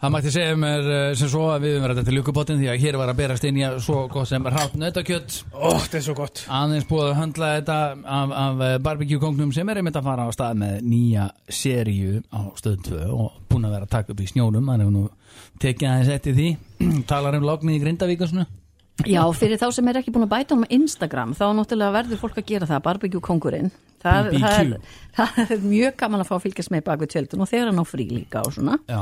Það mætti segja mér eh, sem svo að við höfum verið þetta til lukkubotin því að hér var að berast inn í að svo gott sem rátt nautakjött Ó, þetta er svo gott aðeins búið að höndla þetta af, af barbecue-kongnum sem er einmitt að fara á stað með nýja seríu á stöð 2 og búin að vera að taka upp í snjónum hann hefur nú tekið aðeins eftir því talar um lognið í Grindavík og svona Já, fyrir þá sem er ekki búin að bæta um Instagram þá náttúrulega verður fólk að gera það barbecue kongurinn það, BBQ. það, er, það er mjög gaman að fá að fylgjast með baku tjöldun og þegar hann á frí líka og svona Já,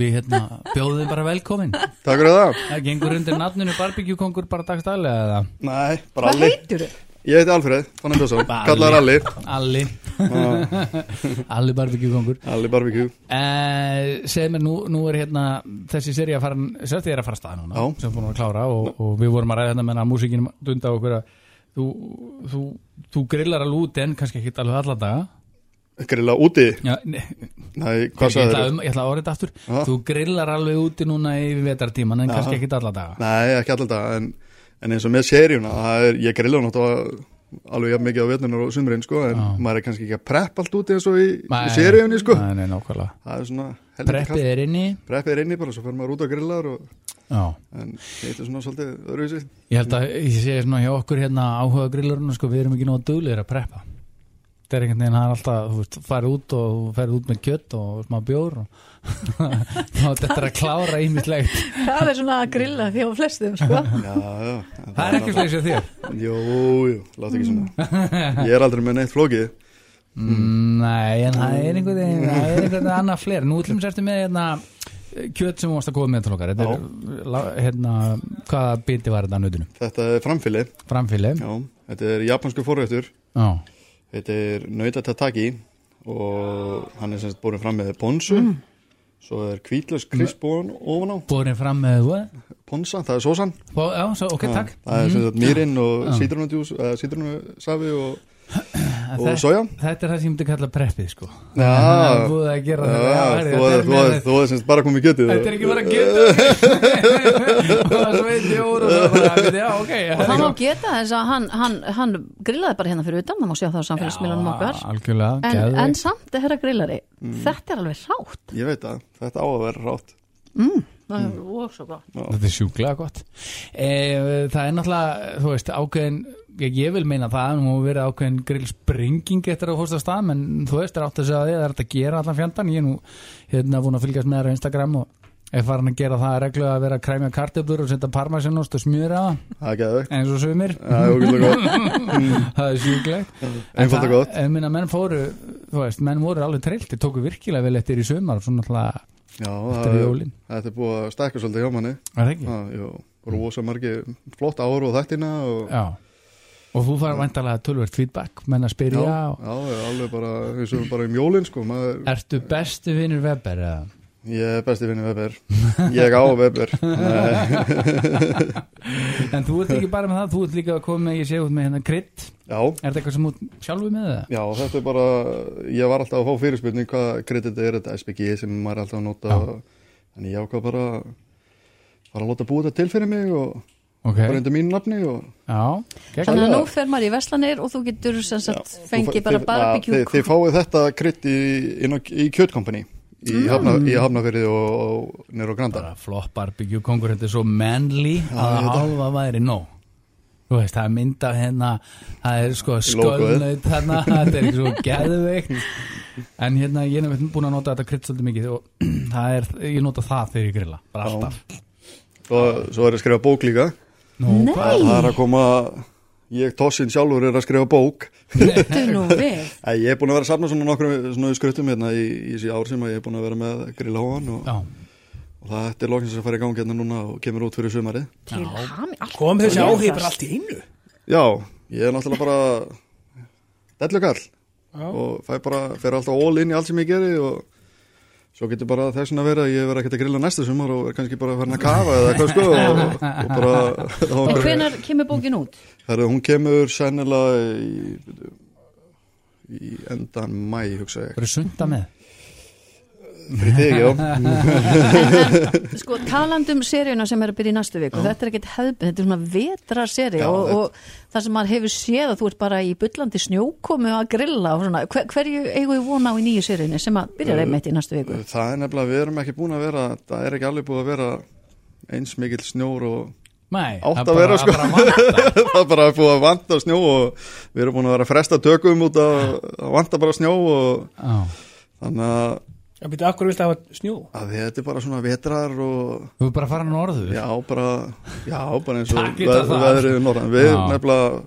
við hérna bjóðum þið bara velkomin Takk fyrir það Það gengur undir nafninu barbecue-kongur bara dagstælega eða Nei, bara Hvað Alli heitir þau? Ég heiti Alfred, Fannar Björnsson, kallaður Alli Alli Alli barbecue-kongur Alli barbecue Eh, segð mér, nú, nú er hérna þessi seri að fara, sérst ég er að fara af stað núna Já. sem búin að klára og, og við vorum að ræða hérna meðan að músikinum dunda á okkur að þú, þú, þú grillar alveg út en kannski ekki alveg alla daga Grilla úti Já, ne, Nei, ég, hvað sagður ætla, þér? um, ég ætla að orða þetta aftur Já. þú grillar alveg úti núna í vetartíman en kannski ekki alla daga Nei, ekki alltaf dag en, en eins og með seríuna það er, Ég grilla náttúrulega alveg jafn mikið á vetunar og sumrin sko, En maður er kannski ekki að preppa allt úti eins og í, í seríunni sko. nei, nei, nákvæmlega Það er svona helviti kalt. Preppið er inni Preppið er inni bara, svo fer maður út á grillar og, Já En þetta er svona svolítið öðruvísi Ég held að ég sé svona hjá okkur hérna áhuga grillurinn sko, við erum ekki nóg duglegir að preppa þetta er einhvern veginn það er alltaf, þú veist, farið út og þú farið út með kjött og smá bjór og þá þetta er að klára ímislegt Það er svona að grilla því á flestum sko. Já, já en Það er ekki náttúrulega- slegs að þér Jú, jú, láta ekki svona Ég er aldrei með neitt flókið Mm, Nei, en það er einhvern veginn það er einhvern veginn annað fleir Nú ætlum sérstu með hérna kjött sem þú varst að koma með til okkar Þetta er, la- hérna, hvaða biti var þetta á nöðinu? Þetta er framfili Framfili? Já, þetta er japansku forrættur Já, Þetta er nautataki og hann er semst borin fram með ponsu Mm. svo er kvítlaus krisbón ofan á borin fram með þú ponsa, það er sósan Fá- Já, svo, ok, takk Mm. það er semst mýrin og sítrónadjús eða sítrónusafi og, og soja Þetta er það sem ég myndi kalla preppið sko Já. Það er búið að gera þetta. Já, Já, herri, þú þetta er- er þú með- er þú er semst bara komið kjötið Þetta er ekki bara að geta Og það sveiti úr og það bara við- Já, ok og það má geta þess að hann, hann, hann grillaði bara hérna fyrir utan það má sjá það á samfélagsmiðlunum okkar Algjörlega, en, en geðveikt. samt er herra grillari Mm. þetta er alveg rátt Ég veit það, þetta á að vera rátt það er mm. svo gott Þetta er sjúklega gott e, Það er náttúrulega, þú veist, ákveðin Ég, ég vil meina það, nú hefur verið ákveðin grillspringing eftir að hósta stað menn þú veist, er átt að segja að það er þetta að gera allan fjandan ég er nú hérna búin að fylgjast með þér á Instagram og er farin að gera það að reglu að vera að kræmja kartöflur og setja parmesanost og smjöra það, Það er geðvegt eins og sumir Það er ógæslega gott það er sjúklegt Einfalt og það- gott. en minna menn fóru, þú veist, menn voru alveg trillti, tóku virkilega vel eftir í sumar svona alltaf, Já, Þetta er það er- jólin. þetta er búið að stækka svolítið hjá manni er það ekki? Já, jú, rosa margi flott ára og þættina og Já, og þú fara væntalega tölvert feedback, menn að spyrja og, Já, já, alveg bara, eins og bara um jólinn sko, maður, ertu bestu vinnur Weber eða? ég er besti vinni Weber, ég á Weber, Nei, en þú ert ekki bara með það, þú ert líka að koma með ég sé út með hérna krydd, já, er þetta eitthvað sem út sjálfu með það? já, þetta er bara, ég var alltaf að fá fyrirspurning hvað kredit er þetta SPG sem maður er alltaf að nota, þannig ég ákvað bara, bara að láta búa þetta til fyrir mig og Ok, bara undir mínu nafni og já, gegn þannig að Já. nú fer maður í veslanir og þú getur sem sagt Þú fengið fæ- bara þið- barbecue Já, Þið, þið fáið þetta krydd í, inn á, í kjötkompani í, Mm. hafna, í hafnafyrði og, og nýra og granda. bara flop barbecue kongur þetta er svo manly að ég veit það. hálfa væri nóg þú veist, það er mynd af hérna það er sko Logoið. skölnaut þarna þetta er svo geðveikt en hérna, ég hef búin að nota þetta krydd svolítið mikið og það er, ég nota það þegar ég grilla, bara alltaf Og svo er að skrifa bók líka. Nú, Nei, Það er að koma, ég tossin sjálfur er að skrifa bók. þetta nú við Æ, Ég er búin að vera að safna svona nokkrum svona skruttum hérna í, í þessi ár sem að ég er búin að vera með grillháan og, já, og það er loksins að fara í gangi hérna núna og kemur út fyrir sumarið. til hami Kom þessi áhig bara allt í einu Já, ég er náttúrulega bara dellukall og fæ bara, fer alltaf all in í allt sem ég geri og svo getur bara þess að vera að ég vera ekkert að grilla næsta sumar og er kannski bara farin að kafa eða hvað sko og, og bara og hvenar kemur bókin út? Herru, hún kemur sennilega í, í endan mæ, hugsa ég. bara sunda með fyrir þig, já. Sko, talandum seríuna sem er að byrja í næstu viku, þetta er ekkit hefðbund, þetta er svona vetra seri Já, og, þetta- og það sem maður hefur séð að þú ert bara í byllandi snjókomu að grilla og svona, hver, hverju eigum við vona á í nýju seríunni sem að byrja reymitt í næstu viku? Það er nefnilega, við erum ekki búin að vera, það er ekki alveg búin að vera eins mikill snjór og Nei, Átt það að bara- vera, sko. það bara vantar. það er bara búið að vanta snjó og við erum búin að vera að fresta tökum út að að vanta bara snjó og Já. þannig að, Það byrja, akkur viltu hafa snjó? að þetta er bara svona vetrar og Þú er bara að fara norður já, bara, já, bara eins og Takk fyrir það. veðrið norðan. Við Já. nefnilega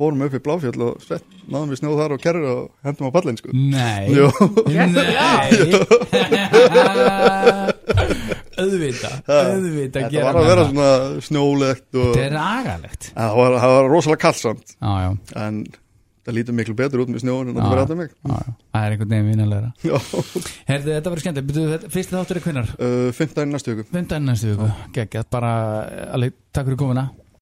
fórum upp í Bláfjöll og svett, náðum við snjó þar og kerrið og hendum á pallin, sko. Nei Jú. Nei Öðvita Öðvita Þetta var að vera svona snjólegt og Þetta er agalegt En það var, það var rosalega kallsamt Já, já, en það lítur miklu betur út með snjóin en það verður alltaf mig já, já. það er einhvern veginn vinalega Já. Herðu, þetta verður skemmt Byrju, þetta- Fyrsti þáttur er hvennar? uh, Fymtdæðin næstu viku Fymtdæðin næstu viku Gekk, bara eh, alveg, takk fyrir komuna